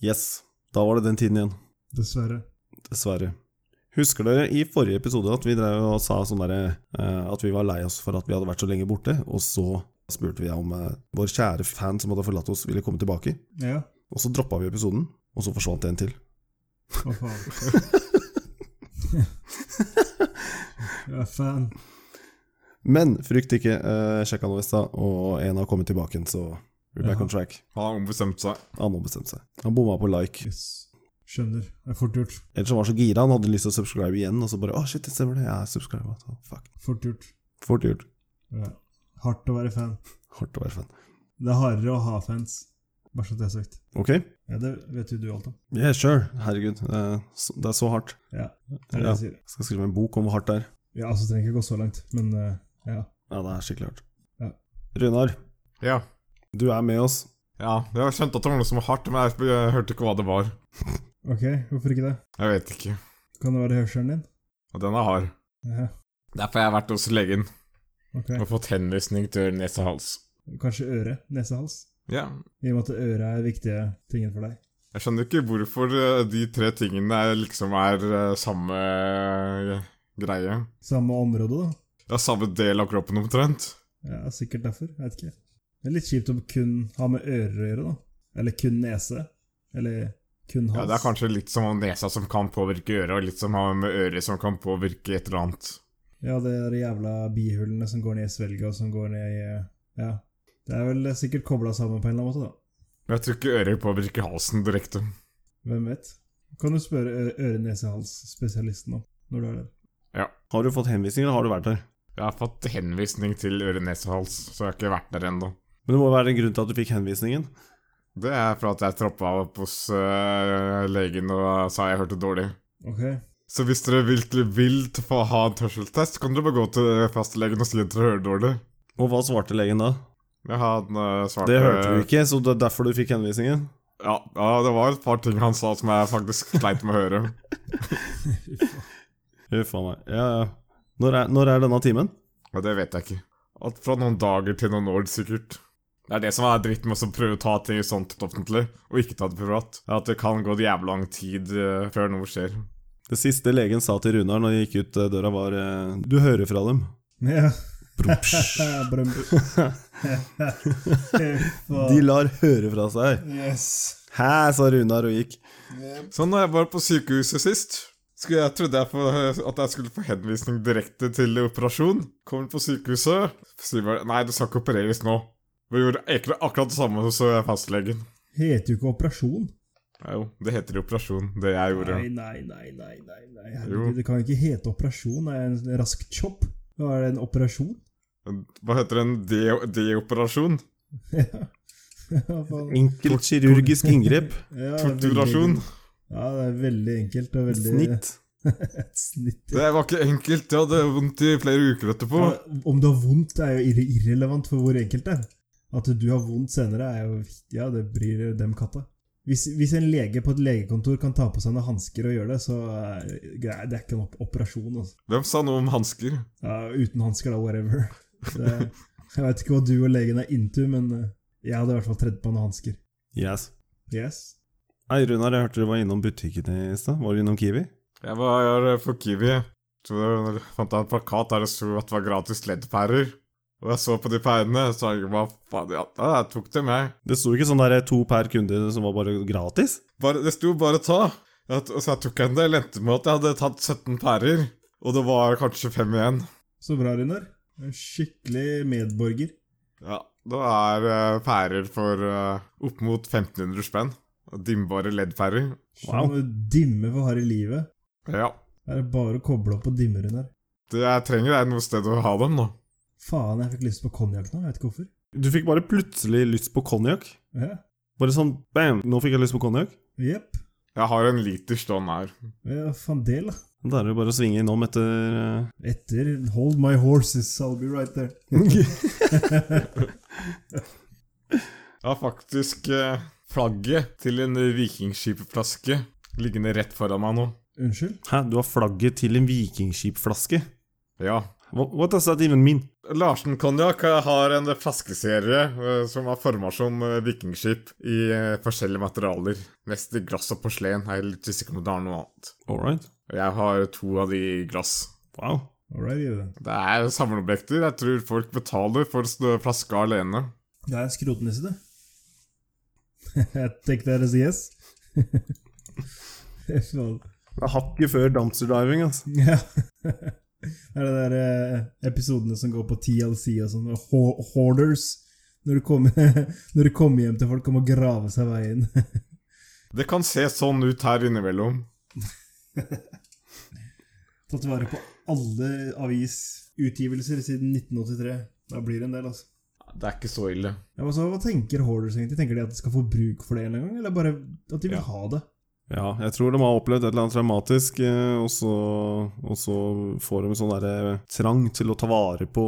Yes, da var det den tiden igjen. Dessverre. Dessverre. Husker dere i forrige episode at vi drev og sa sånn derre eh, At vi var lei oss for at vi hadde vært så lenge borte, og så spurte vi om eh, vår kjære fan som hadde forlatt oss, ville komme tilbake. Ja. Og så droppa vi episoden, og så forsvant en til. Hva faen. Jeg er fan. Men frykt ikke, eh, sjekka nå i stad, og en har kommet tilbake igjen, så we're back Jaha. on track. Har han ombestemt seg? Han har bestemt seg. Han bomma på like. Yes. Skjønner. Det er fort gjort. Ellers han var så gira, han hadde lyst til å subscribe igjen, og så bare Å, shit, det stemmer det, jeg er subscriba. Fuck. Fort gjort. Fort gjort. Ja. Hardt å være fan. Hardt å være fan. Det er hardere å ha fans. Bare så det er sagt. Ok? Ja, det vet jo du alt om. Yeah, sure. Herregud, det er så, det er så hardt. Ja. Det er det Ja. jeg sier. Jeg skal skrive en bok om hvor hardt det er. Ja, altså, det trenger ikke gå så langt, men eh, ja. Ja, det er skikkelig hardt. Ja. Runar, Ja. du er med oss. ja. Jeg skjønte at det var noe som var hardt, men jeg, jeg hørte ikke hva det var. Ok, hvorfor ikke det? Jeg vet ikke. Kan det være hørselen din? Og den er hard. Ja, Derfor har jeg vært hos legen ok. og fått henvisning til nese-hals. Kanskje øre, nese, hals? Ja. I og med at øret er viktige tingen for deg. Jeg skjønner ikke hvorfor eh, de tre tingene er- liksom er eh, samme eh, greie. Samme område, da. Det er samme del av kroppen omtrent. Ja, sikkert derfor. Jeg vet ikke. Det er litt kjipt å kun ha med ører å gjøre, da. Eller kun nese. Eller kun hals. Ja, det er kanskje litt som nesa som kan påvirke øret, og litt som har med øret som kan påvirke et eller annet. Ja, det er de jævla bihullene som går ned i svelget, og som går ned i Ja. Det er vel sikkert kobla sammen på en eller annen måte, da. Men jeg tror ikke øret påvirker halsen direkte. Hvem vet? Kan du spørre ø- øre-nese-hals-spesialisten om, når du er der? Har du fått henvisning, eller har du vært der? Jeg har fått henvisning til øre-nese-hals, så jeg har ikke vært der ennå. Men det må være en grunn til at du fikk henvisningen. Det er for at jeg troppa opp hos eh, legen og sa jeg hørte dårlig. Ok. Så hvis dere virkelig vil t- få ha en hørselstest, kan dere bare gå til fastlegen og si at dere hører dårlig. Og hva svarte legen da? Ja, han eh, svarte Det hørte du ikke, så det er derfor du fikk henvisningen. Ja, ja, det var et par ting han sa som jeg faktisk sleit med å høre. Huff a meg. Ja, ja. Når er, når er denne timen? Og det vet jeg ikke. At fra noen dager til noen år, sikkert. Det er det som er dritten med å så prøve å ta ting sånt offentlig, og ikke ta det privat. Er At det kan gå jævla lang tid eh, før noe skjer. Det siste legen sa til Runar når han gikk ut eh, døra, var eh, 'du hører fra dem'. Ja. Brumsj. Brum. Fy faen. De lar høre fra seg. Yes. Hæ, sa Runar og gikk. Så når jeg var på sykehuset sist, skulle jeg trodde jeg få, at jeg skulle få henvisning direkte til operasjon. Kommer på sykehuset, sier bare nei, du skal ikke opereres nå. Vi gjorde egentlig akkurat det samme hos eh, fastlegen. Heter jo ikke operasjon. Ja, jo, det heter jo operasjon, det jeg gjorde. Nei, nei, nei, nei, nei, nei. Jo. Herregud, det kan jo ikke hete operasjon. Det er en rask chop. Hva er det, en operasjon? Hva heter en de- deoperasjon? Ja. Hva faen? Enkelt kirurgisk inngrep. Ja, det er veldig Torturasjon? enkelt. Ja, det er veldig enkelt og veldig Snitt. Et snitt. Det var ikke enkelt, jeg hadde vondt i flere uker etterpå. Ja, om du har vondt, er jo irre irrelevant for hvor enkelt det er. At du har vondt senere, er jo Ja, det bryr dem katta. Hvis, hvis en lege på et legekontor kan ta på seg noen hansker og gjøre det, så er grei- det er ikke en op operasjon. Altså. Hvem sa noe om hansker? Ja, uten hansker, da, whatever. Det, jeg veit ikke hva du og legen er into, men eh, jeg hadde i hvert fall tredd på noen hansker. Yes. Yes. Hei, Runar, jeg hørte du var innom butikken i stad. Var du innom Kiwi? Jeg var jeg var på Kiwi. Så da fant jeg en plakat der det sto at det var gratis leddpærer. Og jeg så på de pærene, og så jeg bare faen, ja, da, jeg tok dem, jeg. Det sto ikke sånn der to per kunde som var bare gratis? Bare, det sto bare ta. Jeg, t- så jeg tok en del, endte med at jeg hadde tatt 17 pærer. Og det var kanskje fem igjen. Så bra, Runar. En Skikkelig medborger. Ja, da er eh, pærer for eh, opp mot 1500 spenn. Og Dimbare leddpærer. Wow. Sånn dimme for harde livet. Ja. Det er bare å koble opp og dimme, Runar. Det jeg trenger, er noe sted å ha dem, da. Faen, jeg fikk lyst på konjakk nå. Jeg vet ikke hvorfor. Du fikk bare plutselig lyst på konjakk. Ja. Bare sånn bam, nå fikk jeg lyst på konjakk. Jepp. Jeg har en liter stående her. Ja, faen det, da. Da er det jo bare å svinge innom etter eh, Etter Hold my horses, I'll be right there. eh, Jeg har faktisk eh, flagget til en vikingskipflaske liggende rett foran meg nå. Unnskyld? Hæ, du har flagget til en vikingskipflaske? Ja, What, what does that even mean? Larsen Konjakk har en flaskeserie eh, som er forma som eh, vikingskip i eh, forskjellige materialer. Mest i glass og porselen. Jeg er litt usikker på om det er noe annet. All right. Jeg har to av de i glass. Wow. Alrighty, Det er samleobjekter. Jeg tror folk betaler for sn- flaska alene. det er en skrotnisse, det. Take that as a yes. Faen. Det er hakket før dumpster diving, altså. ja. Det er de der eh, episodene som går på TLC og sånn, og ho- hoarders. Når du, kommer, når du kommer hjem til folk, kommer og grave seg veien. Det kan se sånn ut her innimellom. Tatt vare på alle avisutgivelser siden 1983. Da blir det en del, altså. Det er ikke så ille. Ja, men så, hva tenker hoarders egentlig? Tenker de at de skal få bruk for det en eller annen gang, eller bare at de vil Ja. ha det? Ja, jeg tror de har opplevd et eller annet traumatisk, eh, og så, og så får de en sånn derre trang til å ta vare på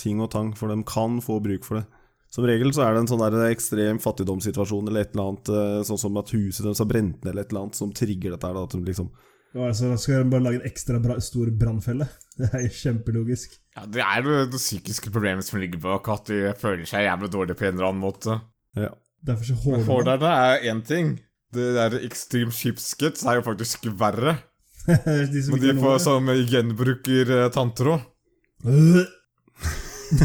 ting og tang, for de kan få bruk for det. Som regel så er det en sånn der ekstrem fattigdomssituasjon eller et eller annet, eh, sånn som at huset deres har brent ned eller et eller annet, som trigger dette her, da, at de liksom Og altså, da skal de bare lage en ekstra bra, stor brannfelle. Det er jo kjempelogisk. Ja, Det er jo det psykiske problemet som ligger bak at de føler seg jævlig dårlig på en eller annen måte. Ja. Derfor så hoarder Men man. Forderne er én ting. Det der extreme skipsket er jo faktisk verre. de som Men ikke de har noe. får, som gjenbruker eh, tanntråd. Øh,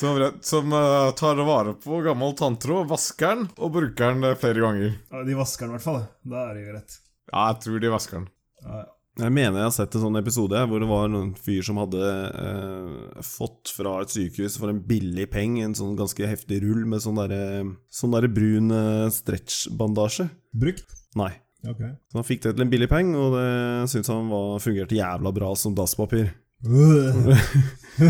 Som, rett- som eh, tar vare på gammel tanntråd, vasker den og bruker den eh, flere ganger. ja, De vasker den i hvert fall, da. da er det jo rett. Ja, jeg tror de vasker den. Ja, ja. Jeg mener jeg har sett en sånn episode her, hvor det var en fyr som hadde eh, fått fra et sykehus for en billig peng, en sånn ganske heftig rull med sånn derre sånn derre brun eh, stretchbandasje. Brukt? Nei. Ok. Så han fikk det til en billig peng, og det syntes han var, fungerte jævla bra som dasspapir. Øh.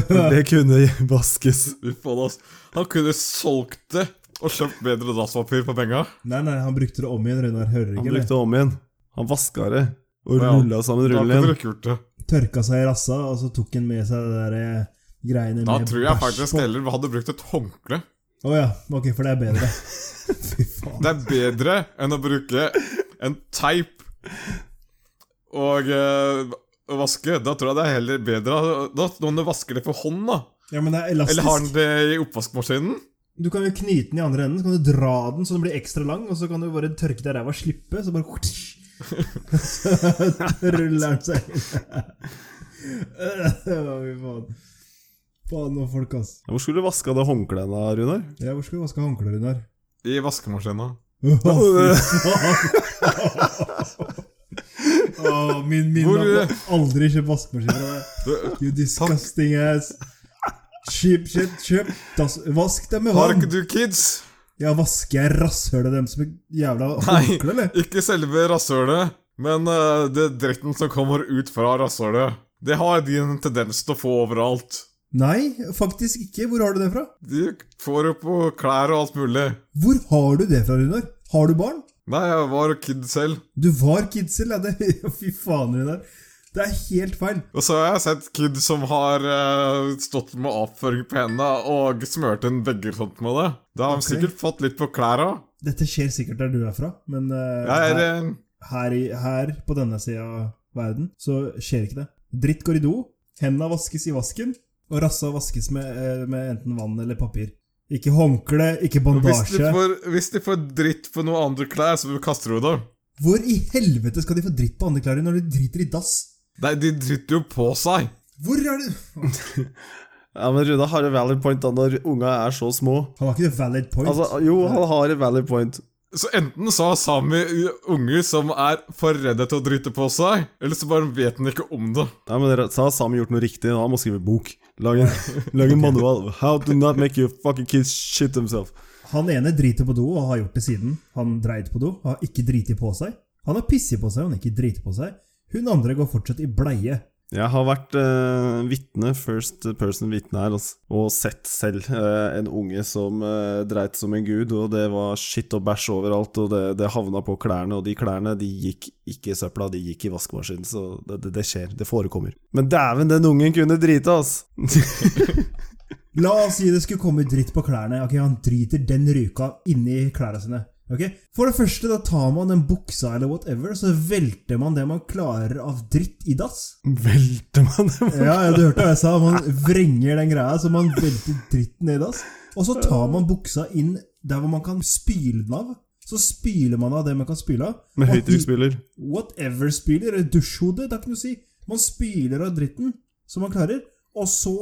Det kunne vaskes. Fy faen, ass. Han kunne solgt det og kjøpt bedre dasspapir for penga. Nei, nei, han brukte det om igjen, Runar. Hører du Han ikke, brukte eller? det om igjen. Han vaska det, og Ja. rulla sammen rullen Da kunne du igjen. ikke gjort det. Tørka seg i rassa, og så tok han med seg det der eh, greiene Da med tror jeg bæsj faktisk på. heller vi hadde brukt et håndkle. Å ja. Ok, for det er bedre. Fy faen. Det er bedre enn å bruke en teip og eh, å vaske. Da tror jeg det er heller bedre da, når du vasker det for hånd, da. Ja, men det er elastisk. Eller har den det i oppvaskmaskinen? Du kan jo knyte den i andre enden, så kan du dra den så den blir ekstra lang, og så kan du bare tørke deg i ræva og slippe, så bare Så ruller den seg inn. Å, Fy faen. Faen og folk, ass. Hvor skulle du vaska det håndkleet, da, Runar? Ja, hvor skal du vaske håndklær, Runar? I vaskemaskina. Å, fy faen. Å, min Hvor- minne er på aldri kjøp vaskemaskin fra deg. Du- You disgusting ass. Kjip shit, kjøp. dass- Vask deg med Har vann. ikke du kids? Ja, vasker jeg rasshølet dem som et jævla Nei. håndkle, eller? Ikke selve rasshølet, men eh, det dritten som kommer ut fra rasshølet. Det har de en tendens til å få overalt. Nei, faktisk ikke. Hvor har du det fra? De får jo på klær og alt mulig. Hvor har du det fra, Runar? Har du barn? Nei, jeg var jo kid selv. Du var kidsel, ja. Det, fy faen, Runar. Det er helt feil. Og så har jeg sett kids som har eh, stått med avføring på hendene og smurt inn vegger og sånt med det. Da har de Ok. sikkert fått litt på klærne. Dette skjer sikkert der du er fra, men eh, Jeg er her, eh, her, i, her på denne sida av verden så skjer ikke det. Dritt går i do, henda vaskes i vasken, og rassa vaskes med, eh, med enten vann eller papir. Ikke håndkle, ikke hvis, de bandasje. får, hvis de får dritt på noen andre klær, så kaster du det. Hvor i helvete skal de få dritt på andre klær når de driter i dass? Nei, de driter jo på seg. Hvor er det Ja, men Runar har et valid point da, når unga er så små. Han har ikke det valid point. Altså, jo, han har et valid point. Så enten så har Sami unger som er for redde til å drite på seg, eller så bare vet han ikke om det. Ja, men dere- så har Sam gjort noe riktig, han må skrive bok. Lage lage en manual. How to not make your fucking kids shit themselves. Han ene driter på do og har gjort det siden. Han dreit på do, har ikke driti på seg. Han har pisset på seg, han har ikke driti på seg. Hun andre går fortsatt i bleie. Jeg har vært uh, vitne, first person vitne her, altså, og sett selv eh, en unge som eh, dreit som en gud, og det var skitt og bæsj overalt, og det, det havna på klærne, og de klærne de gikk ikke i søpla, de gikk i vaskemaskinen, så det, det, det skjer, det forekommer. Men dæven, den ungen kunne drite, ass! La oss si det skulle komme dritt på klærne. Ok, Han driter den ryka inni klærne sine. Ok, For det første, da tar man den buksa eller whatever, så velter man det man klarer av dritt i dass. Velter man det? Ja, ja, du hørte hva jeg sa. Man vrenger den greia, så man velter dritten ned i dass. Og så tar man buksa inn der hvor man kan spyle den av. Så spyler man av det man kan spyle av. Med Og i- høytrykksspyler. Whatever-spyler, eller dusjhode, da kan du si. Man spyler av dritten som man klarer, og så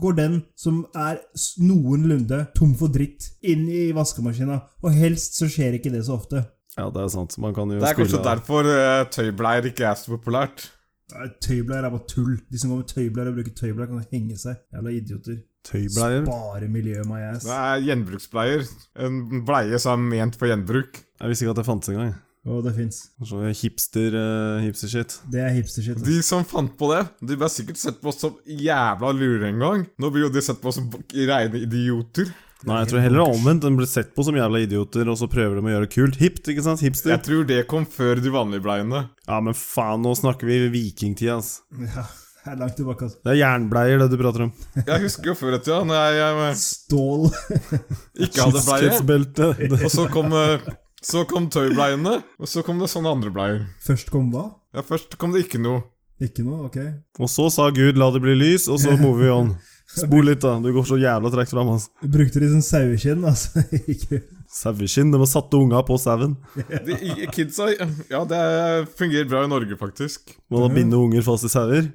går den som er s- noenlunde tom for dritt, inn i vaskemaskina. Og helst så skjer ikke det så ofte. Ja, det er sant. Man kan jo Det er kanskje spille derfor eh, tøybleier ikke er så populært. Nei, Tøybleier er bare tull. De som går med tøybleier og bruker tøybleier, kan henge seg. Jævla idioter. tøybleier. Bare miljøet, my ass. Det er gjenbruksbleier. En bleie som er ment for gjenbruk. Jeg visste ikke at det fantes engang. Å, det fins. Så hipster, eh, hipster-shit. Det er hipstershit. ass. De som fant på det, de ble sikkert sett på som jævla lure en gang. Nå blir jo de sett på som reine idioter. Nei, jeg tror heller det er omvendt. Den blir sett på som jævla idioter, og så prøver de å gjøre det kult. Hipt, ikke sant? Hipster. Jeg tror det kom før de vanlige bleiene. Ja, men faen, nå snakker vi vikingtid, ass. Ja, det er langt tilbake, altså. Det er jernbleier, det du prater om. Jeg husker jo før i tida, når jeg, eh, Stål. ikke hadde bleie. Kitsbelte. Det- Og så kom, eh, så kom tøybleiene, og så kom det sånne andre bleier. Først kom hva? Ja, først kom det ikke noe. Ikke noe? Ok. Og så sa Gud 'la det bli lys', og så move we on. Spol litt, da. Du går så jævla tregt fram, ass. Brukte de sånn saueskinn, altså. Ikke Saueskinn. De har satt unga på sauen. De, i- kidsa Ja, det fungerer bra i Norge, faktisk. Må da binde unger fast i sauer.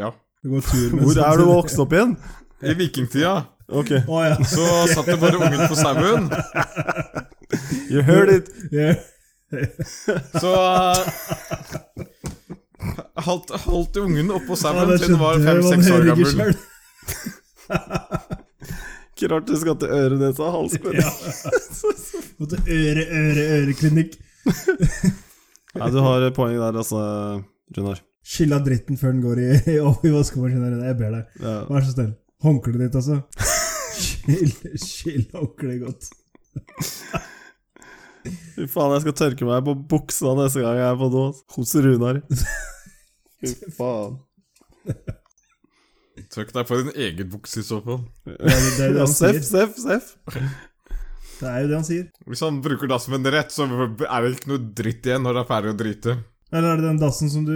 Ja. Du går tur med Hvor er du vokst opp igjen? I vikingtida Ok, Å ja. så satt det bare ungen på sauen. you heard it. Ja. Så eh, holdt, holdt ungen oppå sauen det til den var skjønte jeg, man fem-seks år hører ikke gammel. selv. Ikke rart du skal til ørenesa og halsbånd. Måtte øre, øre, øreklinikk. Nei, du har poeng der, altså, Runar. Skyll av dritten før den går i, i, i vaskemaskinen. Jeg ber deg. Ja. Vær så snill. Håndkleet ditt, altså. Skyll, skyll håndkleet godt. Fy faen, jeg skal tørke meg på buksa neste gang jeg er på do. ass. Hos Runar. Fy faen. Trykk deg på din egen bukse i så fall. Det er, det, er det, Ja, han seff, sier. seff, seff. det er jo det han sier. Hvis han bruker dassen min rett, så er det ikke noe dritt igjen når det er ferdig å drite. Eller er det den dassen som du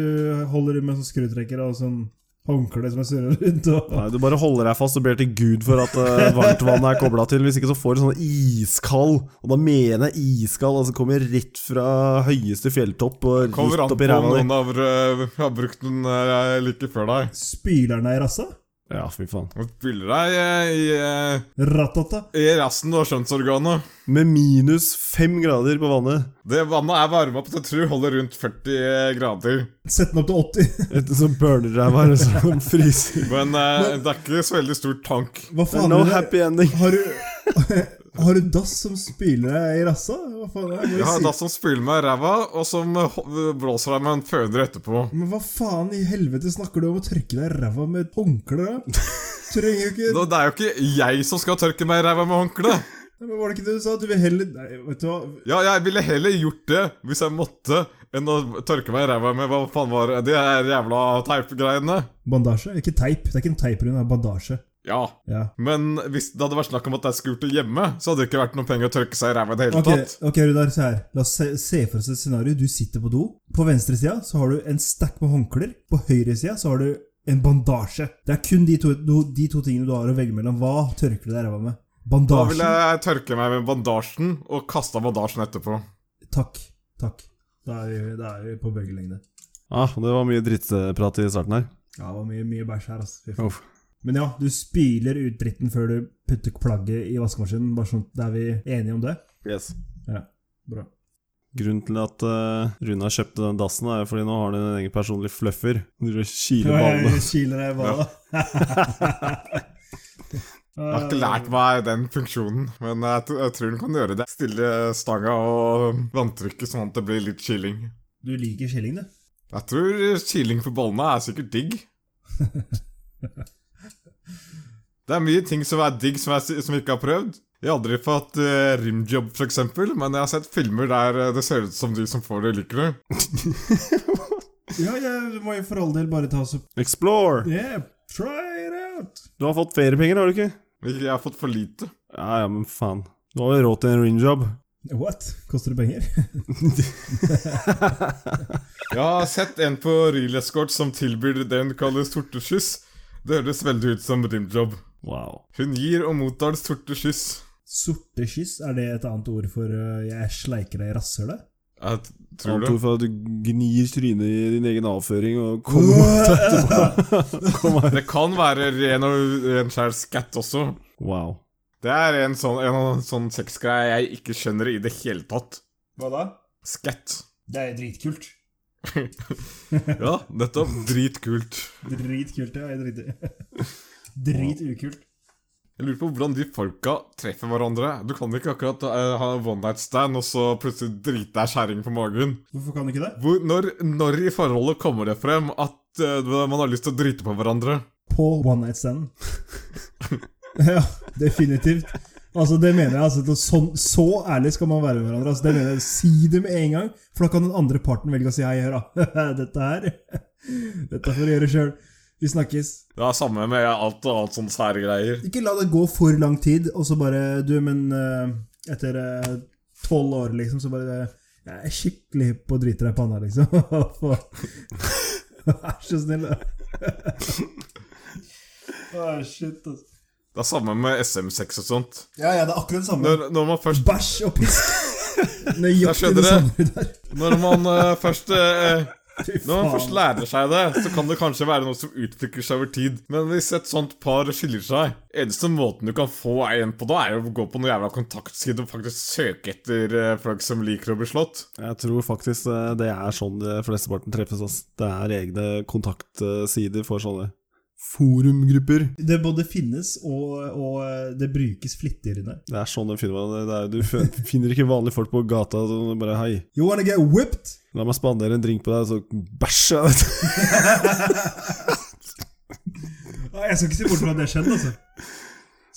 holder i med sånn skrutrekker og sånn håndkle som er surra rundt? Og, Nei, du bare holder deg fast og ber til Gud for at eh, varmtvannet er kobla til. Hvis ikke så får du sånn iskald, og da mener jeg iskald, altså kommer rett fra høyeste fjelltopp og Kommer rett an opp på i om ræva di. noen har, eh, har brukt den eh, like før deg. spyler den deg i rassa? Ja, fy faen. Og Spiller deg eh, i, eh, Ratata. i rassen og skjønnsorganet. Med minus fem grader på vannet. Det vannet er varma opp til jeg tror holder rundt 40 grader. Sett den opp til 80. Et sånt sånn burner-ræva som fryser. Men eh, det er ikke så veldig stor tank. Hva faen No er det? happy ending. Har du, har du dass som spyler deg i rassa? Hva faen er det? Jeg har Hva da som spyler meg i ræva, og som eh, ho- blåser deg med en føner etterpå. Men hva faen i helvete snakker du om å tørke deg i ræva med et håndkle? da? Trenger jo ikke Nå, Det er jo ikke jeg som skal tørke meg i ræva med håndkle. Nei, Men Var det ikke det du sa? Du vil heller Nei, vet du hva? Ja, jeg ville heller gjort det hvis jeg måtte, enn å tørke meg i ræva med hva faen var det, de her jævla teipgreiene. Bandasje? Ikke teip. Det er ikke en teip rundt, det er bandasje. Ja. Ja. Men hvis det hadde vært snakk om at jeg skulle gjort det hjemme, så hadde det ikke vært noe penger å tørke seg i ræva i det hele Ok, tatt. ok, Rudar, se her. La oss se, se for oss et scenario. Du sitter på do. På venstre sida så har du en stack med håndklær. På høyre sida så har du en bandasje. Det er kun de to, do- de to tingene du har å velge mellom. Hva tørker du deg i ræva med? Da Bandasjen? ville jeg tørke meg med bandasjen og kasta bandasjen etterpå. Takk. Takk. Da er vi, da er vi på bølgelengde. Ah, det var mye drittprat i starten her. Ja, det var mye, mye bæsj her, altså. Fy faen. Uff. Men ja, du spyler ut dritten før du putter plagget i vaskemaskinen. Bare sånn, da er vi enige om det? Yes. Bra. Grunnen til at uh, Runa kjøpte den dassen, er jo fordi nå har han en egen personlig fluffer. Han driver og kiler ballene. Jeg kiler deg i balla. Jeg har ikke lært meg den funksjonen, men jeg, tr- jeg tror den kan gjøre det. Stille stanga og vanntrykket sånn at det blir litt chilling. Du liker killing, du? Jeg tror chilling på ballene er sikkert digg. Det er mye ting som er digg som jeg, si- som jeg ikke har prøvd. Jeg har aldri fått eh, rimjob, for eksempel, men jeg har sett filmer der eh, det ser ut som de som får det, liker det. Ja, ja, du må jo for all del bare ta så Explore! Yeah, try it out! Du har fått feriepenger, har du ikke? Ikke- Jeg har fått for lite. Ja, ja, men faen. Du har jo råd til en ringjob. What? Koster det penger? Jeg har sett en på Real Escort som tilbyr det hun kaller sorteskyss. Det høres veldig ut som rimjob. Wow. Hun gir og mottar sorteskyss. Sorte kyss, er det et annet ord for eh, 'jeg sleiker deg i rasshølet'? Jeg t- tror Annet det. ord for at du gnir trynet i din egen avføring og kommer mot etterpå. Kom her. Det kan være ren og ren skjær skatt også. Wow. Det er en sånn, en sånn sexgreie jeg ikke skjønner i det hele tatt. Hva da? Skatt. Det er jo dritkult. Ja, nettopp. Dritkult. Dritkult, ja. jeg Drit... Dritukult. Jeg lurer på hvordan de folka treffer hverandre. Du kan ikke akkurat eh, ha en one night stand, og så plutselig drite deg skjæring på magen. Hvorfor kan du ikke det? Hvor, når, når i forholdet kommer det frem at eh, man har lyst til å drite på hverandre? På one night standen. ja, definitivt. Altså, det mener jeg, altså, det- sånn, Så ærlig skal man være med hverandre. Altså, det mener jeg, Si det med en gang, for da kan den andre parten velge å si hei, hør da. Dette her Dette får du gjøre sjøl. Vi snakkes. Det er samme med alt og alt sånne sære greier. Ikke la det gå for lang tid, og så bare Du, men eh, etter tolv år, liksom, så bare Jeg er skikkelig hypp på å drite deg i panna, liksom. For- Vær så snill, da. Å, shit, altså. Det er samme med SM6 og sånt. Ja, ja, det er akkurat det samme. Når, når man først, Bæsj og pisk. Nøyaktig skjønner det jeg. samme der. når man, eh, først eh, Fy Når man faen. først lærer seg det, så kan det kanskje være noe som utvikler seg over tid. Men hvis et sånt par skiller seg, eneste måten du kan få en på da, er jo å gå på noen jævla kontaktside og faktisk søke etter eh, folk som liker å bli slått. Jeg tror faktisk eh, det er sånn det flesteparten treffes. Ass. Det er egne kontaktsider for sånne forumgrupper. Det både finnes og, og eh, det brukes flittigere der. Det er sånn de finner hverandre. Det er- Du fø- finner ikke vanlige folk på gata som bare 'hei, You wanna get whipped? la meg spandere en drink på deg', så bæsjer jeg deg. Ja, Jeg skal ikke se bort fra at det skjedde, altså.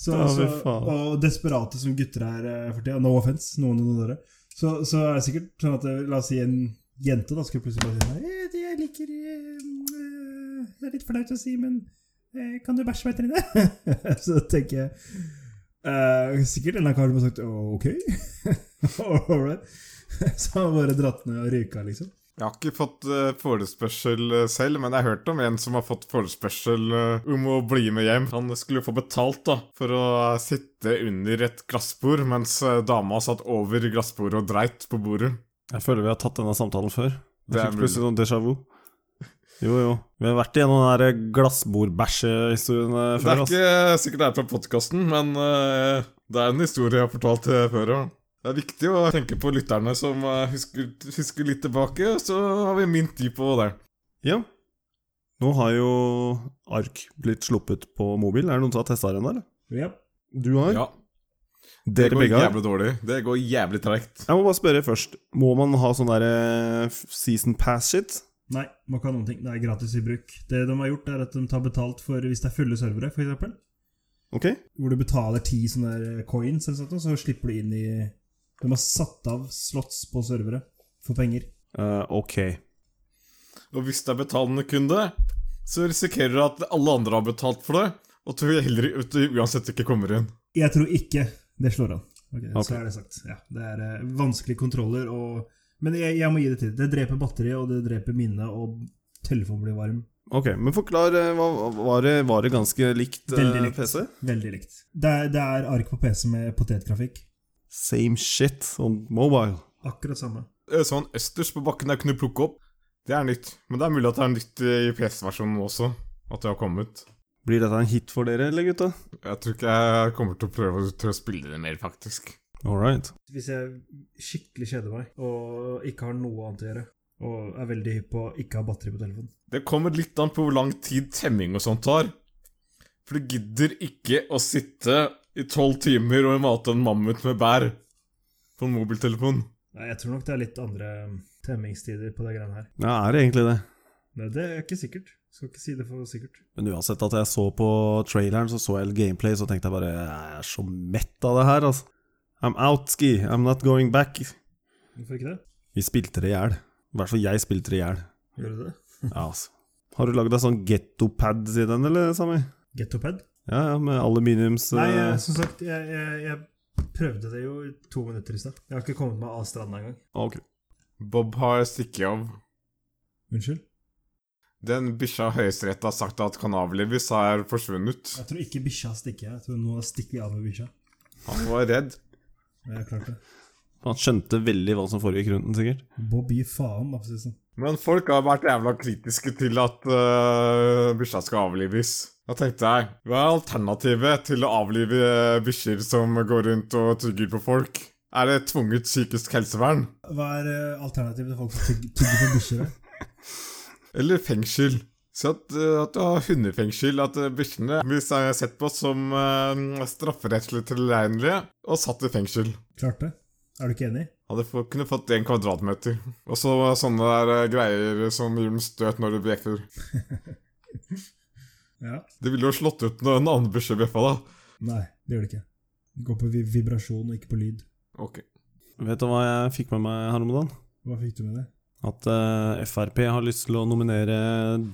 Så, Ja, så, fy faen. og desperate som gutter er eh, for tida, no offense, noen av dere, så, så er det sikkert sånn at eh, la oss si en jente da skulle plutselig bare si sånn «Eh, det Jeg liker eh, eh, Det er litt flaut å si, men eh, kan du bæsje meg etter inne? så tenker jeg eh, Sikkert en eller annen kar som har sagt ok. All right. så har han bare dratt ned og ryka, liksom. Jeg har ikke fått eh, forespørsel eh, selv, men jeg har hørt om en som har fått forespørsel eh, om å bli med hjem. Han skulle få betalt da, for å eh, sitte under et glassbord, mens eh, dama satt over glassbordet og dreit på bordet. Jeg føler vi har tatt denne samtalen før. Det Jeg er fikk mulig. plutselig sånn déjà vu. Jo, jo. Vi har vært igjennom den der glassbordbæsjehistorien eh, Det før. er ass. ikke sikkert det er fra podkasten, men eh, det er en historie jeg har fortalt eh, før. ja. Det er viktig å tenke på lytterne som eh, husker, husker litt tilbake, så har vi mint de på det. Ja. Nå har jo ark blitt sluppet på mobil. Er det noen som har testa den, eller? Ja. Du har? Ja, det Dere går begge har? jævlig dårlig. Det går jævlig tregt. Jeg må bare spørre først. Må man ha sånn der eh, f- season pass-shit? Nei, må ikke ha noen ting. Det er gratis i bruk. Det de har gjort, er at de tar betalt for hvis det er fulle servere, f.eks. Ok? Hvor du betaler ti sånne der coins, eller sånt, og så slipper du inn i De har satt av slots på servere for penger. Eh, ok. Og hvis det er betalende kunde, så risikerer du at alle andre har betalt for det, og at du heller at du uansett ikke kommer inn. Jeg tror ikke det slår an. Ok, Ok. Så er det sagt. Ja, det er eh, vanskelige kontroller og Men jeg, jeg må gi det til. Det dreper batteriet, og det dreper minnet, og telefonen blir varm. Ok, Men forklar. eh, hva, hva- var, det, var det ganske likt eh, Veldig likt. PC? Veldig likt. Det er, det er ark på PC med potetgrafikk. Same shit on mobile. Akkurat samme. Eh, Sånn østers på bakken jeg kunne plukke opp, det er nytt. Men det er mulig at det er nytt eh, i PC-versjonen også, at det har kommet. Blir dette en hit for dere, eller gutta? Jeg tror ikke jeg kommer til å prøve å- til å spille det mer, faktisk. All right. hvis jeg skikkelig kjeder meg og ikke har noe annet å gjøre, og er veldig hypp på å ikke ha batteri på telefonen. Det kommer litt an på hvor lang tid temming og sånt tar. For du gidder ikke å sitte i tolv timer og mate en mammut med bær på en mobiltelefon. Nei, jeg tror nok det er litt andre um, temmingstider på de greiene her. Ja, er det egentlig det? Men det er ikke sikkert. Skal ikke si det for sikkert. Men uansett at jeg så på traileren, så så jeg litt gameplay, så tenkte jeg bare Jeg er så mett av det her, altså. I'm out, ski. I'm not going back. Hvorfor ikke det? Vi spilte det i hjel. I hvert fall jeg spilte det i hjel. Gjør du det? Ja, altså. Har du lagd deg sånn gettopad i den, eller, Sami? Gettopad? Ja, ja, med aluminiums Nei, eh, jeg, som sagt, jeg, jeg, jeg prøvde det jo i to minutter i stad. Jeg har ikke kommet meg av stranda engang. Ok. Bob har stikket av. Unnskyld? Den bikkja Høyesterett har sagt at kanavlevis er forsvunnet. Jeg tror ikke bikkja stikker. Jeg tror nå stikker vi av med bikkja. Han var redd. Jeg har klart det. Han skjønte veldig hva som foregikk rundt den, sikkert. Bob gir faen, da, for å si det sånn. Men folk har vært jævla kritiske til at øh, bikkja skal avlives. Da tenkte jeg, hva er alternativet til å avlive øh, bikkjer som går rundt og tygger på folk? Er det tvunget psykisk helsevern? Hva er eh, alternativet til folk som tygger, tygger på bikkjer? da? Eller fengsel? Så at, øh, at du har hundefengsel, at øh, bikkjene blir se- sett på som øh, strafferettslig tilregnelige og satt i fengsel. Klart det. Er du ikke enig? Hadde få, kunne fått én kvadratmeter. Og så sånne der eh, greier som gir dem støt når de bjeffer. Ja. Det ville jo slått ut når en annen bikkje bjeffa, da. Nei, det gjør det ikke. Det går på vi- vibrasjon og ikke på lyd. Ok. Vet du hva jeg fikk med meg her om dagen? Hva fikk du med det? At eh, Frp har lyst til å nominere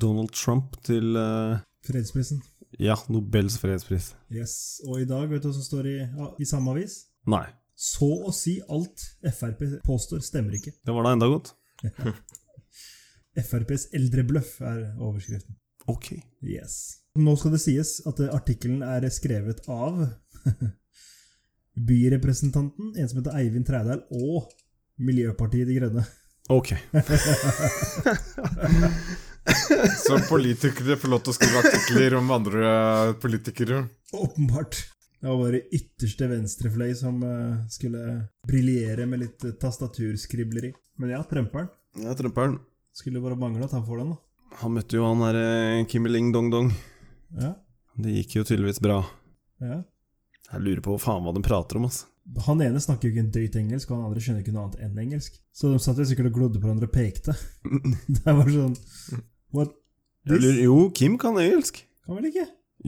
Donald Trump til eh, Fredsprisen. ja, Nobels fredspris. Yes. Og i dag, vet du hva som står i, ja, i samme avis? Nei. Så å si alt Frp påstår, stemmer ikke. Det var da enda godt. FrPs eldrebløff er overskriften. Ok. Yes. Nå skal det sies at eh, artikkelen er skrevet av byrepresentanten, en som heter Eivind Trædal, og Miljøpartiet De Grønne. Ok. Så politikere får lov til å skrive artikler om andre eh, politikere. Åpenbart. Det var bare ytterste venstrefløy som eh, skulle briljere med litt eh, tastaturskribleri. Men ja, trømperen. Ja, Trumper'n. Skulle bare mangle at han får den, da. Han møtte jo han derre Kimmeling Dong-Dong. Ja, Det gikk jo tydeligvis bra. ja. Jeg lurer på hva faen hva de prater om, altså. Han ene snakker jo ikke en drøyt engelsk, og han andre skjønner ikke noe annet enn engelsk. Så de satt jo sikkert og glodde på hverandre og pekte. Det var sånn What? Jeg This? lurer, jo, Kim kan engelsk. Kan vel ikke?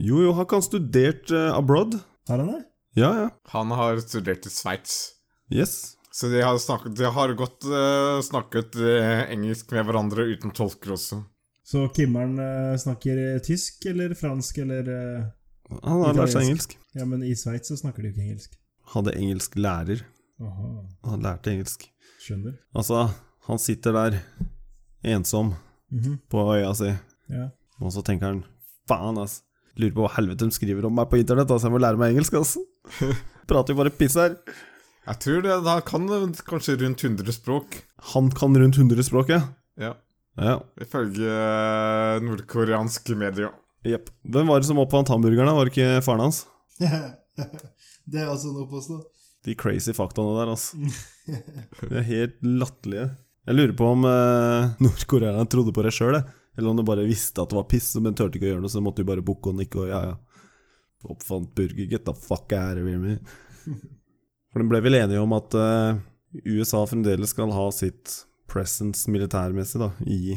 Jo, jo, har ikke han studert eh, abroad? Har han det? Ja, ja. Han har studert i Sveits. Yes. Så de har, snakket, de har godt eh, snakket eh, engelsk med hverandre uten tolker også. Så Kimmeren eh, snakker eh, tysk eller fransk eller eh, Han har lært seg engelsk. Ja, men i Sveits så snakker de jo ikke engelsk. Hadde engelsk lærer. Aha, Han lærte engelsk. skjønner. Altså, han sitter der, ensom, Mhm, på øya si, Ja. og så tenker han faen, ass. Lurer på hva helvete de skriver om meg på internett, ass. Jeg må lære meg engelsk, ass. Prater jo bare piss her. Jeg tror det, han kan eh, kanskje rundt 100 språk. Han kan rundt 100 språk, ja. Ja, Ja, Ifølge eh, nordkoreanske medier. jepp. Hvem var det som oppfant hamburgerne? Var det ikke faren hans? det er altså noe å påstå. De crazy faktaene der, altså. De er helt latterlige. Jeg lurer på om eh, nordkoreanerne trodde på det sjøl, eller om de bare visste at det var piss, men turte ikke å gjøre noe, så de måtte jo bare bukke og nikke og ja, ja. Oppfant burger, get the fuck out of here. man. For de ble vel enige om at eh, USA fremdeles skal ha sitt presence militærmessig da, i,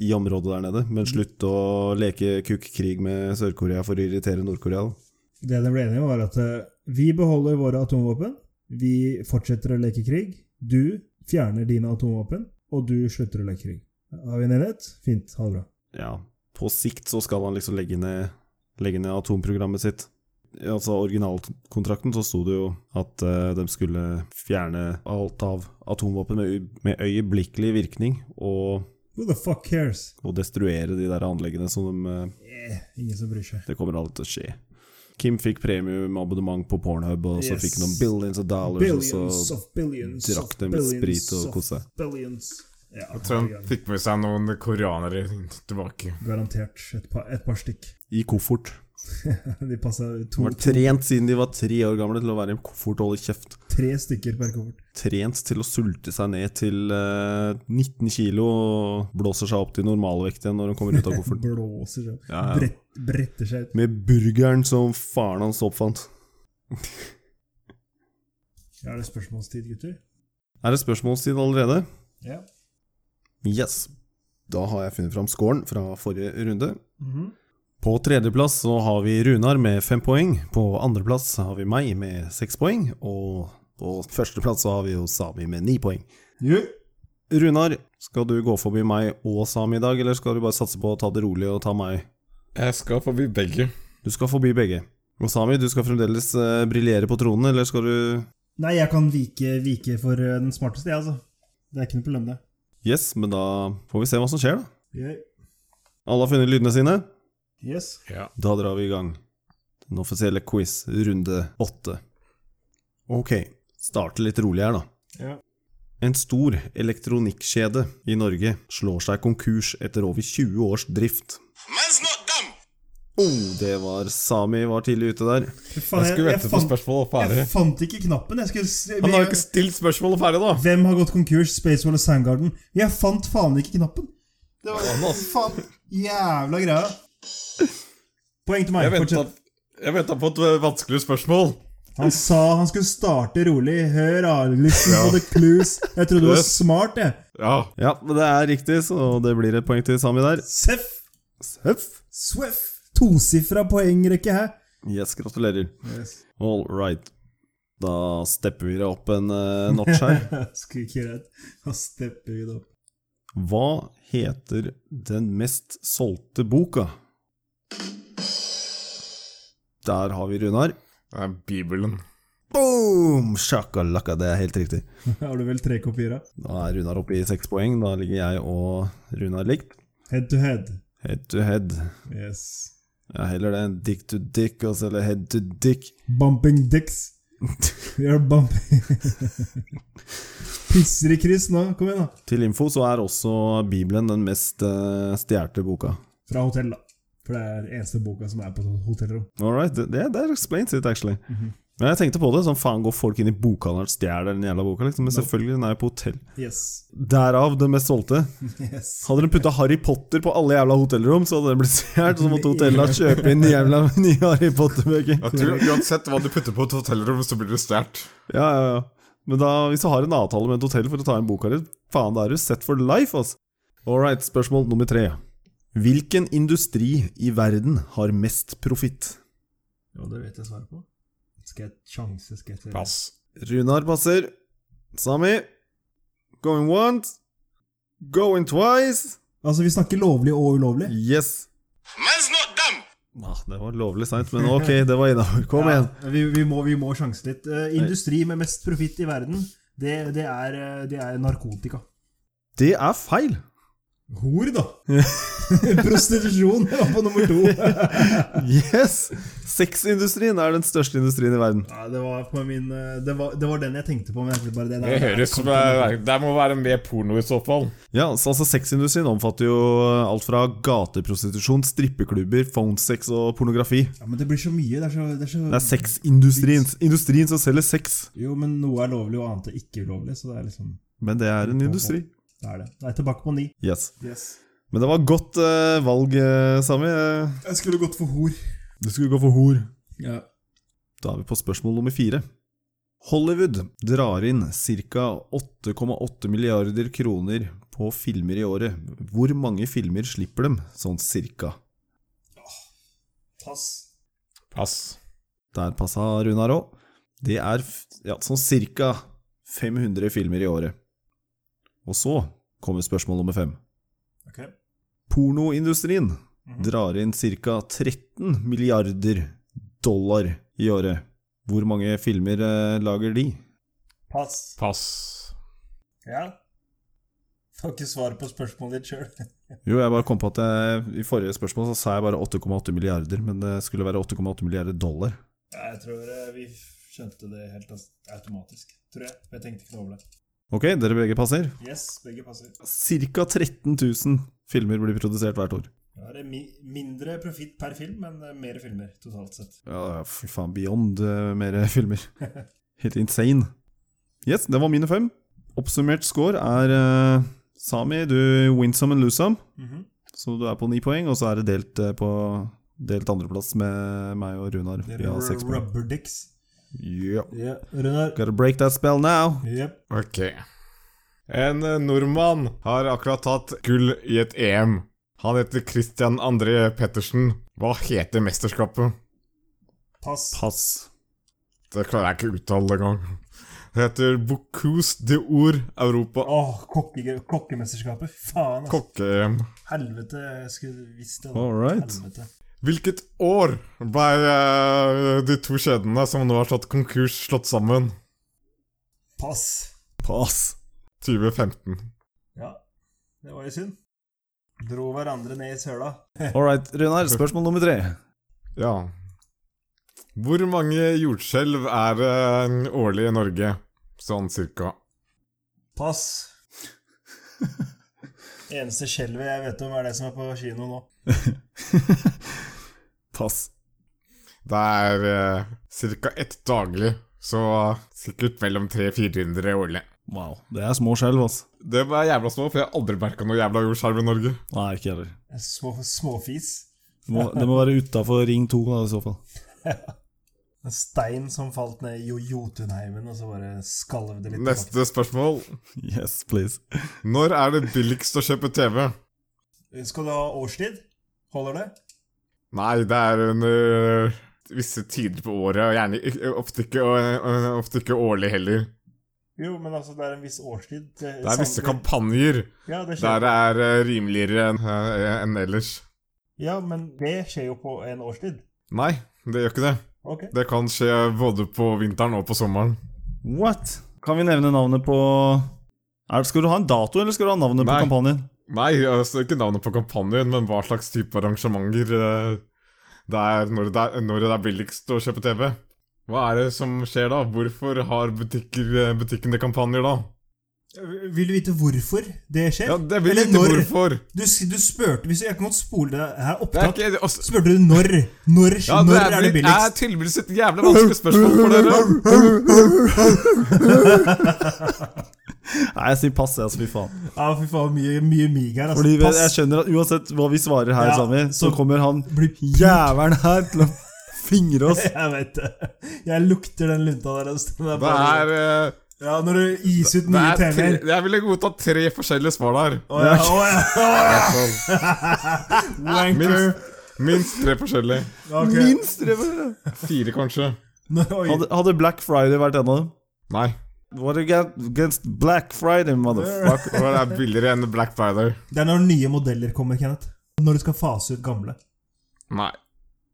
i området der nede, men slutte å leke kukk-krig med Sør-Korea for å irritere Nord-Korea. da. Det de ble enige om, var at eh, vi beholder våre atomvåpen, vi fortsetter å leke krig, du fjerner dine atomvåpen, og du slutter å leke krig. Har vi en enighet? Fint, ha det bra. ja, på sikt så skal han liksom legge ned, legge ned atomprogrammet sitt. I altså originalkontrakten så sto det jo at eh, de skulle fjerne alt av atomvåpen med, øy- med øyeblikkelig virkning, og, Who the fuck cares? og destruere de der anleggene som de eh, Eh, ingen som bryr seg. Det kommer aldri til å skje. Kim fikk premiumabonnement på Pornhub, og så Yes. fikk han noen billions of dollars, og Billions så of billions drakk of de billions sprit og of koste seg. Billions. Ja, Trump herregud. fikk med seg noen koreanere tilbake. garantert et par, et par stykk. i koffert. De passa De to, var trent siden de var tre år gamle til å være i en koffert og holde kjeft. tre stykker per koffert. trent til å sulte seg ned til eh, 19 kilo og blåser seg opp til normalvekt igjen når hun kommer ut av kofferten. Blåser seg opp. Ja, ja. Brett, bretter seg ut. Med burgeren som faren hans oppfant. Ja, Er det spørsmålstid, gutter? Er det spørsmålstid allerede? Ja. Yes. Da har jeg funnet fram scoren fra forrige runde. På tredjeplass så har vi Runar med fem poeng. På andreplass har vi meg med seks poeng. Og på førsteplass så har vi jo Sami med ni poeng. Runar, skal du gå forbi meg og Sami i dag, eller skal du bare satse på å ta det rolig og ta meg Jeg skal forbi begge. Du skal forbi begge. Og Sami, du skal fremdeles eh, briljere på tronen, eller skal du Nei, jeg kan vike, vike for eh, den smarteste, jeg, altså. Det er ikke noe problem, det. Yes, men da får vi se hva som skjer, da. Jeg- Alle har funnet lydene sine? Yes. Ja. Da drar vi i gang. Den offisielle quiz, runde åtte. Ok, starte litt rolig her, da. Ja. En stor elektronikkjede i Norge slår seg konkurs etter over 20 års drift. Man's not dumb. Oh, det var Sami var tidlig ute der. Fy faen, Jeg jeg, skulle jeg, vente på fant, spørsmålet jeg ferdig. fant ikke knappen. Jeg skulle s- Han har jo ikke stilt spørsmålet ferdig, da! Hvem har gått konkurs? Spacewall og Soundgarden? Jeg fant faen ikke knappen! Det var ass. faen jævla greia. Poeng til meg. Jeg venta, fortsett. jeg venta på et eh, vanskelig spørsmål. Han sa han skulle starte rolig. Hør, da. Listen på the clues. Jeg trodde du var Yes. smart, jeg. Ja. Ja, men det er riktig, så det blir et poeng til Sami der. Seff. Seff. Sweff. Tosifra poengrekke her. Yes, gratulerer. All right. Da stepper vi det opp en eh, notch her. Skulle ikke redd. Han stepper ut opp. Hva heter den mest solgte boka? Der har vi Runar. Det er Bibelen. Boom! Sjakalakka, det er helt riktig. Har du vel tre kopier av? Da er Runar oppe i seks poeng. Da ligger jeg og Runar likt. Head to head. Head to head. Yes. Ja, heller det enn dick to dick, altså, eller head to dick. Bumping dicks. Vi er bumping Pisser i kryss nå. Kom igjen, da. Til info så er også Bibelen den mest uh, stjålne boka. Fra hotell, da. For det er eneste boka som er på et hotellrom. All right, det, det that explains it, actually. Men jeg tenkte på det, sånn faen går folk inn i bokhandelen og stjeler den jævla boka, liksom. Men selvfølgelig, den er jo på hotell. Yes. Derav den mest solgte. yes. Hadde de putta Harry Potter på alle jævla hotellrom, så hadde den blitt stjålet. Så måtte hotellene kjøpe inn jævla nye Harry Potter-bøker. Jeg tror Uansett hva du putter på et hotellrom, så blir det stjålet. Ja, ja, ja. Men da, hvis du har en avtale med et hotell for å ta inn boka di, faen, da er du set for life, ass. All right, spørsmål nummer tre. Hvilken industri i verden har mest profitt? Jo, det vet jeg svaret på. Skal jeg sjanse? Skal jeg til Pass. Runar passer. Sami. Going once. Going twice. Altså, vi snakker lovlig og ulovlig. Yes. Man's not dumb. Ah, det var lovlig seint, men ok, det var innafor. Kom Ja, igjen. vi, vi, må, vi må sjanse litt. Eh, industri med mest profitt i verden, det, det, er, eh, det er narkotika. Det er feil. Hor, da! Prostitusjon var på nummer to. Yes! Sexindustrien er den største industrien i verden. ja, det, var på min, eh, det, var, det var den jeg tenkte på. Men jeg tenkte bare det der- Det høres som Det må være mer porno i så fall. Ja, så altså Sexindustrien omfatter jo eh, alt fra gateprostitusjon, strippeklubber, phonesex og pornografi. ja, Men det blir så mye. Det er så, det er så Det er sexindustrien. Industrien som selger sex. Jo, men noe er lovlig, og annet er ikke ulovlig. Så det er liksom Men det er en industri. Det er det. Det er tilbake på ni. Yes. Men det var godt eh, valg, eh, Sami. Eh, Jeg skulle gått for hor. Du skulle gå for hor. Ja. Da er vi på spørsmål nummer fire. Hollywood drar inn ca. 8,8 milliarder kroner på filmer i året. Hvor mange filmer slipper dem, sånn cirka? Pass. Pass. Der passa Runar òg. Det er f- ja, sånn ca. 500 filmer i året. Og så kommer spørsmål nummer fem. Ok. Pornoindustrien drar inn ca. 13 milliarder dollar i året. Hvor mange filmer eh, lager de? Pass. Pass. Ja. Får ikke svar på spørsmålet ditt sjøl. Jo, jeg bare kom på at jeg, i forrige spørsmål så sa jeg bare 8,8 milliarder, men det skulle være 8,8 milliarder dollar. Jeg tror eh, vi skjønte det helt as- automatisk. Tror jeg. Jeg tenkte ikke noe over det. Ok, dere begge passer. Yes, begge passer. Ca. 13 000 filmer blir produsert hvert år. Da er det mi mindre profitt per film, men eh, mer filmer totalt sett. Ja, ja, fy faen, beyond eh, mer filmer. Helt insane. Yes, det var mine fem. Oppsummert score er eh, Sami, du win some and lose some, Mhm. så du er på ni poeng, og så er det delt eh, på Delt andreplass med meg og Runar. Det Vi er har seks poeng. rubber dicks. Yeah. Ja, Runar. Gotta break that spell now! Yep. Ok. En eh, nordmann har akkurat tatt gull i et EM. Han heter Christian André Pettersen. Hva heter mesterskapet? Pass. Pass. Det klarer jeg ikke å uttale engang. Det heter Bocuse de Or Europa Åh, kokke, kokkemesterskapet. Faen, altså. kokke-EM. Helvete, jeg skulle visst det. da. All right. Helvete. Hvilket år ble eh, de to kjedene som nå har slått konkurs, slått sammen? Pass. Pass. 2015. Ja, det var jo synd. Dro hverandre ned i søla. All right, Runar. Spørsmål nummer tre. Ja. Hvor mange jordskjelv er det årlig i Norge? Sånn cirka. Pass. Eneste skjelvet jeg vet om, er det som er på kino nå. Pass. Det er eh, cirka ett daglig, så sikkert mellom 300-400 årlig. Wow. Det er små skjelv, altså. Det var jævla små, for jeg har aldri merka noe jævla jordskjelv i Norge. Nei, ikke heller. Små, småfis. Det må, det må være utafor ring to, da, i så fall. En stein som falt ned i Jo- Jotunheimen, og så bare skalv det litt. Neste spørsmål. Yes, please. Når er det billigst å kjøpe TV? tilbake. Skal du ha årstid? Holder det? Nei, det er under eh, visse tider på året, og gjerne ikke- ofte ikke, og- ofte ikke årlig heller. Jo, men altså, det er en viss årstid. Det Det er visse kampanjer Ja, det der skjer. det er eh, rimeligere enn eh, enn ellers. ja, men det skjer jo på en årstid. Nei, det gjør ikke det. Ok. Det kan skje både på vinteren og på sommeren. What? Kan vi nevne navnet på er, Skal du ha en dato, eller skal du ha navnet på Nei. kampanjen? Nei, altså ikke navnet på kampanjen, men hva slags type arrangementer eh, det er når det er, når det er billigst å kjøpe TV. Hva er det som skjer da? Hvorfor har butikker, eh, butikkene kampanjer da? Vil du vite hvorfor det skjer? Ja, det vil Eller jeg ikke når? hvorfor. Du, s- du spurte hvis Jeg kan godt spole det her Det er opptatt. ikke altså, Spurte du når? Når, ja, når er det Det er billigst? tydeligvis et jævla vanskelig spørsmål for dere. Nei, jeg sier pass, jeg, så fy faen. Ja, fy faen, mye, mye mig her. Altså. Fordi vi- jeg Pass. skjønner at uansett hva vi svarer her, Ja, Sami, så så- kommer han Blir jævelen her til å fingre oss. Jeg vet det. Jeg lukter den lunta der. Altså. Den er Det bare- er, eh, Ja, når du iser ut det nye er tre, TV-er. Jeg ville godta tre forskjellige svar der. Å ja, å ja, å ja. Wanker. sånn. Minst, minst tre forskjellige. Ok. Minst tre minutter. Fire, kanskje. Nå- oi. Hadde, hadde Black Friday vært en av dem? Nei. What against Black Friday, motherfucker? Fuck, Det er billigere enn Black Friday. Det er når nye modeller kommer, Kenneth. Når du skal fase ut gamle. Nei.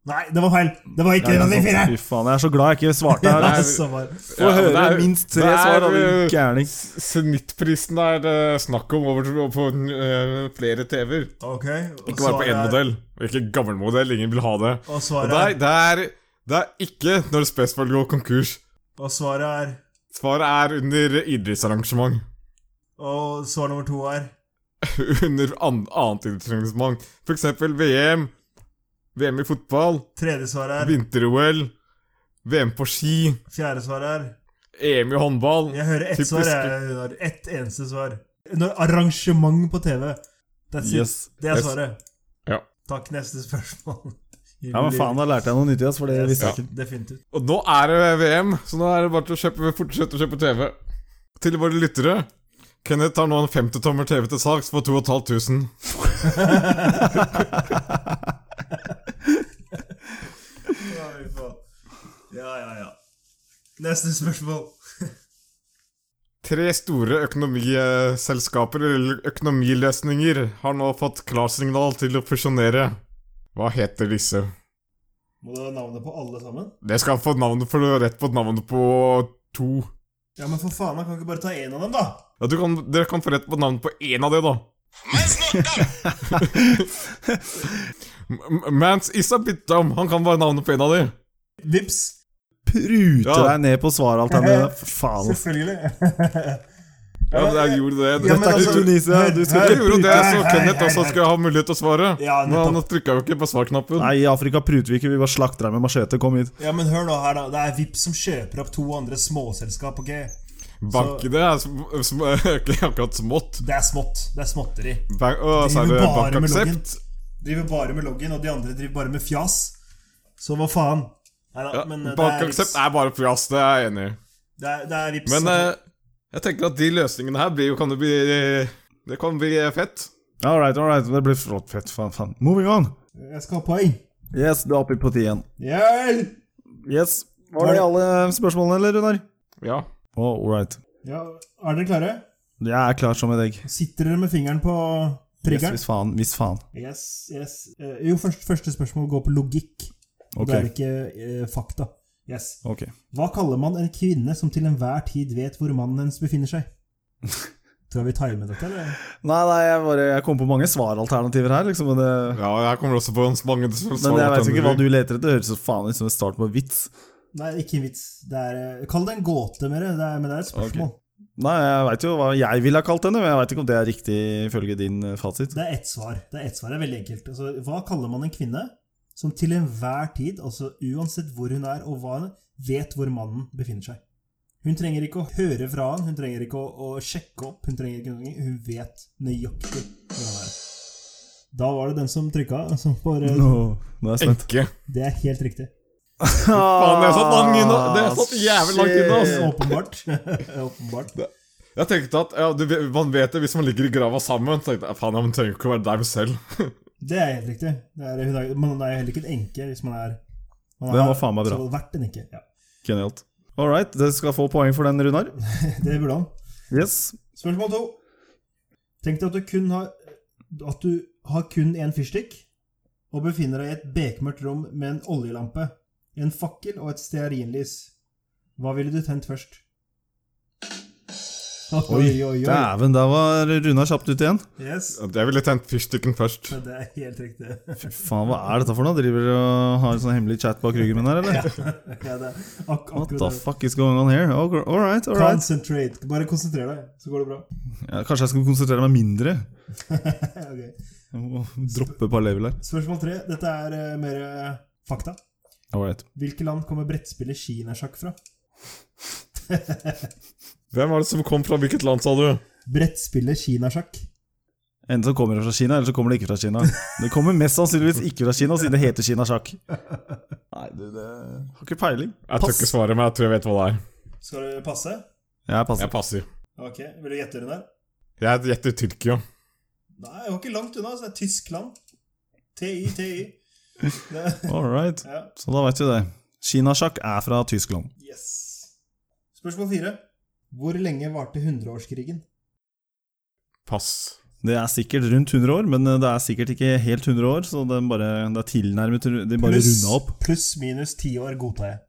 Nei, det var feil! Det var ikke en av de fire! liksom Fy faen, jeg er så glad jeg ikke svarte Ja, her. det er så bare- Få Ja, men høre det er- minst tre det er, svar, da, eh, din gærning. S- Snittprisen er det snakk om over over på eh, flere TV-er. Ok, og Ikke bare på svaret én er- modell. Og Ikke gammel modell, ingen vil ha det. Og Og svaret det er, er, det er, det er ikke når Spaceball går konkurs. og svaret er Svaret er under idrettsarrangement. Og svar nummer to er under an annet idrettsarrangement. For eksempel VM, VM i fotball, Tredje svaret er vinter-OL, VM på ski, Fjerde svaret er EM i håndball. Jeg hører ett Typisk- svar, jeg. Runar. Ett eneste svar. Når arrangement på TV. That's it. Yes. Det er Yes. svaret. Ja. Takk. Neste spørsmål. Ja, men faen, da lærte jeg noe nyttig, ass, for det Yes, visste jeg ikke. Definitivt. Og nå er det VM, så nå er det bare til å kjøpe, fortsette å kjøpe TV. Til våre lyttere. Kenneth har nå en 50-tommer TV til salgs for 2500. Ja, fy faen. ja, ja. ja. Neste spørsmål. Tre store økonomiselskaper, eller økonomiløsninger, har nå fått klarsignal til å fusjonere. Hva heter disse? Må du ha navnet på alle sammen? Det skal få navnet for du har rett på navnet på to. Ja, men for faen, man kan ikke bare ta én av dem, da? Ja, du kan, dere kan få rett på navnet på én av de, da. Man's not dumb. M- Mans Issa Bittam, han kan bare navnet på én av de. Vips. Prute Ja. deg ned på svaralternativet. For faen, ass. Selvfølgelig. Ja, men jeg gjorde det. Ja, men Dette er ikke altså, Tunisia. hør, Du hør. skal Jeg ikke gjorde jo det, prute. så Hei, hei, Kenneth hei, også hei. skulle ha mulighet til å svare. Ja, Men han nettopp. trykka jo ikke på svarknappen. Nei, i Afrika pruter vi ikke, vi bare slakter deg med machete. Kom hit. Ja, men hør nå her, da. Det er Vips som kjøper opp to andre småselskap, OK? Bank i det er sm sm ikke akkurat smått. Det er smått. Det er småtteri. Bank, og så er Driver det bare med loggen. bankaksept. Driver bare med loggen, og de andre driver bare med fjas. Så hva faen? Nei da, Ja, men eh, det er Vips. Bankaksept er bare fjas, det er jeg enig i. Det er, det er Vips. Men eh, jeg tenker at de løsningene her blir jo kan det bli Det kan bli eh, fett. All right, all right. Det blir flott, fett, faen, faen. Moving on. Jeg skal ha poeng. Yes, du er oppe på ti igjen. Hjelp! Yes. Var det alle spørsmålene, eller, Runar? Ja. Oh, all right. Ja, er dere klare? Jeg er klar som et egg. Sitter dere med fingeren på Yes, triggeren? hvis faen. Hvis faen. Yes, yes. Eh, jo, først, første spørsmål går på logikk. Ok. Det er ikke eh, fakta. Yes. Ok. Hva kaller man en kvinne som til enhver tid vet hvor mannen hennes befinner seg? Tror jeg vi timer dette, eller? Nei, nei, jeg, bare, jeg kom på mange svaralternativer her, liksom. Men, det, Ja, jeg kommer også på hans mange men jeg vet ikke hva du du leter etter. Det høres så faen ut som en start på en vits. Nei, ikke en vits. Det er, eh, kall det en gåte, mer, det er, men det er et spørsmål. Nei, jeg veit jo hva jeg ville ha kalt henne, men jeg veit ikke om det er riktig ifølge din eh, fasit. Det er ett svar. Det er ett svar, det er veldig enkelt. Altså, hva kaller man en kvinne som til enhver tid, altså uansett hvor hun er og hva hun er, vet hvor mannen befinner seg? Hun trenger ikke å høre fra han, hun trenger ikke å, å sjekke opp, hun trenger ikke noe, hun vet nøyaktig hvor han er. Da var det den som trykka. Altså, bare, Nå, nå er jeg spent. Enke. Det er helt riktig. Faen, det er satt langt inne, det er satt jævlig langt inne, ass. Shit. Åpenbart. Åpenbart. Jeg tenkte at ja, du, vet- Man vet det hvis man ligger i grava sammen. Tenkte, jeg, Faen, ja, man trenger ikke å være der selv. Det er helt riktig. Det er, hun er, man er jo heller ikke en enke hvis man er man Den har var faen meg bra. så vært en enke. Ja. Genialt. All right, dere skal få poeng for den, Runar. Det burde han. Yes. Spørsmål to. Tenk deg at du kun har At du har kun én fyrstikk og befinner deg i et bekmørkt rom med en oljelampe, en fakkel og et stearinlys. Hva ville du tent først? Oi, oi, oi. Dæven, der var Runar kjapt ut igjen. Yes. Jeg ville tent fyrstikken først. Men Det er helt riktig. Fy faen, hva er dette for noe? Driver dere og har en sånn hemmelig chat bak ryggen min her, eller? Ja, det er ak What akkurat the det. fuck is going on here? Ok, All right, all right. Concentrate. Bare konsentrer deg, så går det bra. Ja, kanskje jeg skal konsentrere meg mindre? Ok. Jeg må Droppe et par level her. Spørsmål tre. Dette er eh, mer eh, fakta. All right. Hvilke land kommer brettspillet kinasjakk fra? Hvem var det som kom fra hvilket land, sa du? Brettspillet kinasjakk. Enten så kommer det fra Kina, eller så kommer det ikke fra Kina. Det kommer mest sannsynligvis ikke fra Kina, siden det heter Kina sjakk. Nei, du, det Har ikke peiling. Jeg tør ikke svare, men jeg tror jeg vet hva det er. Skal du passe? Jeg passer. Jeg passer. Ok, Vil du gjette den der? Jeg gjetter Tyrkia. Nei, jeg var ikke langt unna. så Det er Tyskland. TI, TI. Det- All right. Ja, Så da vet vi det. Kinasjakk er fra Tyskland. yes. Spørsmål fire. Hvor lenge varte hundreårskrigen? Pass. Det er sikkert rundt 100 år, men eh, det er sikkert ikke helt 100 år, så det er, bare, det er tilnærmet De bare Pluss- runda opp. Pluss minus ti år godtar jeg.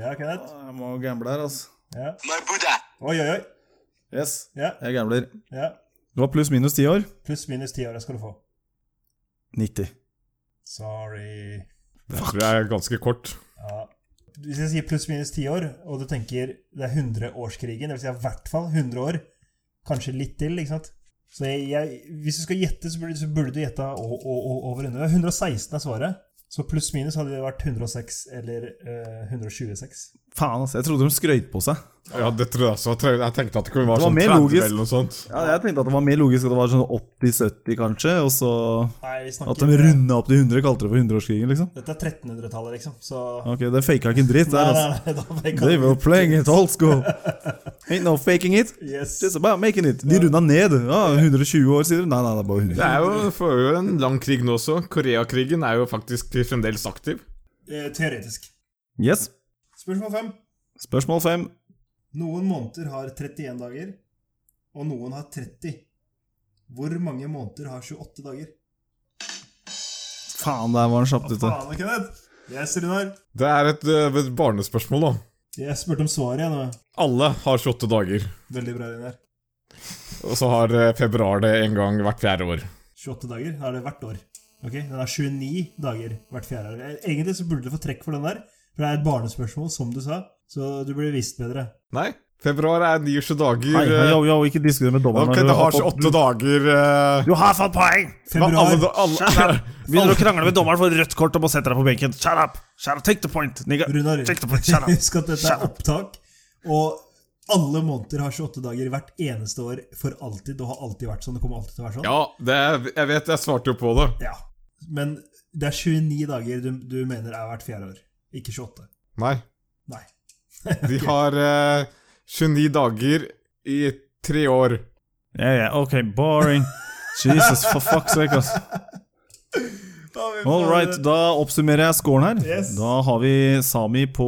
Ja, Kenneth. Jeg må gamble her, altså. Ja. My Buddha. Oi, oi, oi. Yes, Ja, jeg gambler. ja. Det var pluss minus 10 år. Pluss minus ti år det skal du få. 90. Sorry. Det tror jeg er ganske kort. Ja. Hvis jeg sier pluss minus ti år, og du tenker det er 100-årskrigen, dvs. Si i hvert fall 100 år, kanskje litt til, ikke sant Så jeg, jeg, hvis du skal gjette, så burde, så burde du gjette å- å- å- over 100. 116 er svaret. Så pluss minus hadde det vært 106 eller eh, 126. Faen, altså. Jeg trodde de skrøyt på seg. Ja, det tror jeg også. Jeg tror- Jeg tenkte at det kunne være Det var sånn mer 30 logisk. eller noe sånt. Ja, jeg tenkte at det var mer logisk at det var sånn 80-70, kanskje, og så Nei, vi at snakker de runda opp til 100 kalte det for 100-årskrigen, liksom. Dette er 1300-tallet, liksom. Så Ok, det faka ikke en dritt der, altså. nei, da fikk They were playing it old school. Ain't no faking it. Yes. Just about making it. De runda ned. Ja, 120 år, sier de. Nei, nei, det er bare 100. Det er jo, får jo en lang krig nå også. Koreakrigen er jo faktisk fremdeles aktiv. Eh, teoretisk. Yes. Spørsmål fem. Spørsmål fem. Noen måneder har 31 dager, og noen har 30. Hvor mange måneder har 28 dager? Faen, der var den kjapt ute. Faen, Kenneth! Yes, Runar. Det er et, eh, et barnespørsmål, da. Jeg spurte om svaret, jeg nå. Alle har 28 dager. Veldig bra, Runar. Og så har eh, februar det en gang hvert fjerde år. 28 dager har det hvert år. Ok, Den har 29 dager hvert fjerde år. Eh, Egentlig så burde du få trekk for den der, for det er et barnespørsmål, som du sa. Så du blir visst bedre. Nei, februar er 29 dager. Hei, hei, eh, yo, yo, ikke diskuter med dommeren. Ok, når du det har fått- 28 dager eh, Du har fått poeng! alle, Februar. da- alle, Begynner å krangle med dommeren for rødt kort og må sette deg på benken. Shut up! Shut up. Take the point, nigga. Runar, Take the point. Shut up. husk at dette er opptak. Og alle måneder har 28 dager hvert eneste år for alltid. Det har alltid vært sånn. Det kommer alltid til å være sånn. Ja, det, jeg vet jeg svarte jo på det. Ja. Men det er 29 dager du, du mener er hvert fjerde år, ikke 28. Nei. Nei. De har eh, 29 dager i tre år. Ja, ja, ok, boring. Jesus, for fuck's sake, ass. All right, da oppsummerer jeg scoren her. Yes. Da har vi Sami på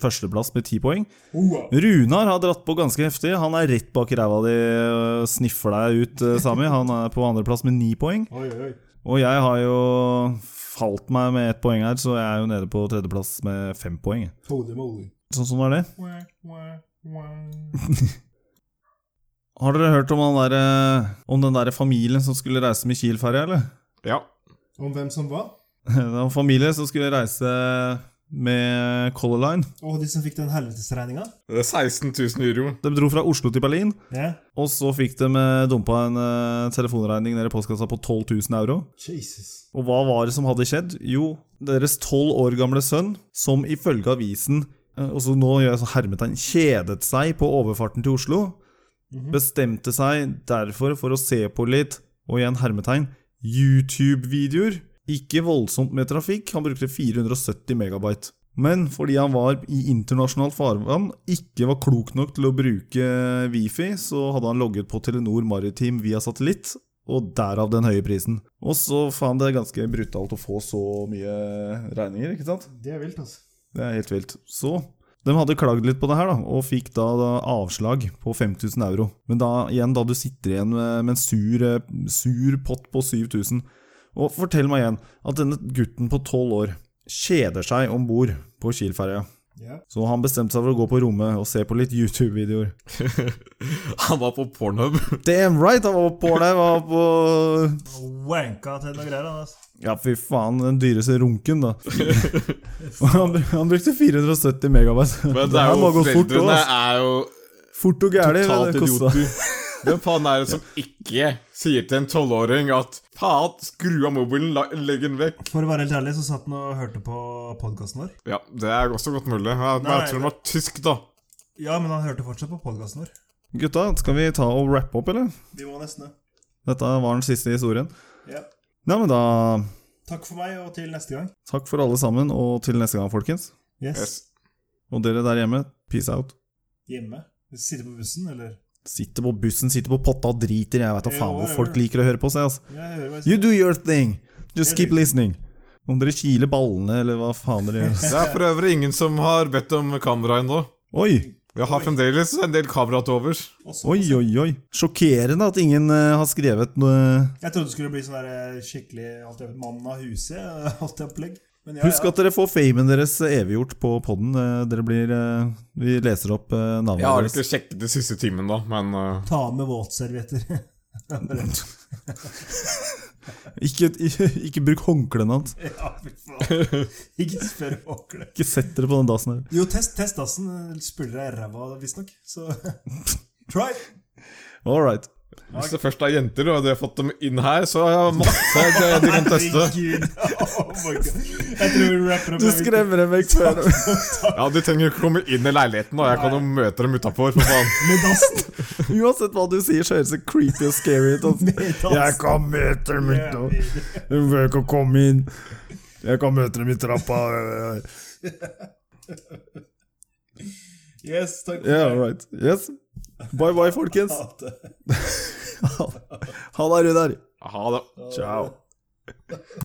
førsteplass med ti poeng. Hoa. Runar har dratt på ganske heftig. Han er rett bak i ræva di og sniffer deg ut, eh, Sami. Han er på andreplass med ni poeng. Oi, oi, oi. Og jeg har jo falt meg med ett poeng her, så jeg er jo nede på tredjeplass med fem poeng. Holy moly. Så sånn er det. Har dere hørt om, han der, eh, om den der familien som skulle reise med Kiel-ferja, eller? Ja. Om hvem som var? Det var en familie som skulle reise med Color Line. Og de som fikk den helvetesregninga? Det er 16 000 euro. De dro fra Oslo til Berlin, Ja. og så fikk de eh, dumpa en eh, telefonregning nede i postkassa på 12 000 euro. Jesus. Og hva var det som hadde skjedd? Jo, deres tolv år gamle sønn, som ifølge avisen eh, og så nå gjør jeg så hermetegn kjedet seg på overfarten til Oslo, Mhm. bestemte seg derfor for å se på litt, og igjen hermetegn, YouTube-videoer. Ikke voldsomt med trafikk, han brukte 470 megabyte. Men fordi han var i internasjonalt farvann, ikke var klok nok til å bruke wifi, så hadde han logget på Telenor Maritim via satellitt, og derav den høye prisen. Og så faen, det er ganske brutalt å få så mye regninger, ikke sant? Det er vilt, altså. Det er helt vilt. Så de hadde klagd litt på det her, da, og fikk da, da avslag på 5000 euro. Men da igjen, da du sitter igjen med, med en sur, eh, sur pott på 7000 Og fortell meg igjen at denne gutten på tolv år kjeder seg om bord på Kiel-ferja. Ja. Så han bestemte seg for å gå på rommet og se på litt YouTube-videoer. Han var på Pornhub. Damn right! Han var på der, var på Wanka til noe greier, han, altså. Ja, fy faen, den dyreste runken, da. Og han, br- han brukte 470 megabyte. Men det her er jo må gå fort, også, foreldrene ass. er jo Fort og gæli. hva totalt det kosta. idioter. Hvem faen er det som ikke sier til en tolvåring at faen, skru av mobilen, la- legg den vekk? For å være helt ærlig, så satt han og hørte på podkasten vår. Ja, det er også godt mulig. Ja, men Nei, jeg tror den var tysk, da. Ja, men han hørte fortsatt på podkasten vår. Gutta, skal vi ta og rappe opp, eller? Vi må nesten det. Dette var den siste historien. Ja. Nei, men da Takk for meg, og til neste gang. Takk for alle sammen, og til neste gang, folkens. Yes. Og dere der hjemme, peace out. Hjemme. Sitte på bussen, eller? Sitter på bussen, sitter på potta og driter. Jeg veit da faen hvor Ja, folk liker å høre på seg, altså. Ja, jeg hører hva jeg You do your thing! Just Jeg keep liker- listening. Om dere kiler ballene, eller hva faen dere gjør. Det er for øvrig ingen som har bedt om kamera ennå. Oi! Jeg har fremdeles en del kamera til overs. Også- Oi, oi, oi. Sjokkerende at ingen eh, har skrevet noe Jeg trodde det skulle bli sånn der eh, skikkelig alt jeg, mann av huset, eh, alt jeg opplegg. Men ja, Husk ja. at dere får famen deres eviggjort på podden. Eh, Dere blir eh, Vi leser opp eh, navnet Jeg har deres. ikke sjekket det siste timen, da, men eh, Ta med våtservietter. Ikke, ikke, ikke bruk håndklærne hans. ja, fy faen. Ikke spør om håndkle. Ikke sett dere på den dassen her. Jo, test, test dassen. eh, Spyler deg i ræva, visstnok. Så try. All right. hvis det først er jenter og de har fått dem inn her, så har jeg masse de, de kan teste. Herregud. Oh my god. Jeg tror vi rapper opp. Du skremmer dem vekk før Ja, De trenger jo ikke komme inn i leiligheten, og jeg kan jo møte dem utafor, for faen. Med dassen. Uansett hva du sier, så høres det creepy og scary ut. ass. Med dassen. Jeg kan møte dem ute. Jævlig. Du behøver ikke å komme inn. Jeg kan møte dem i trappa. Yes, takk for Yeah, det. all right. Yes. Bye bye, folkens. Ha det. Ha det, Runar. Ha det. Ciao.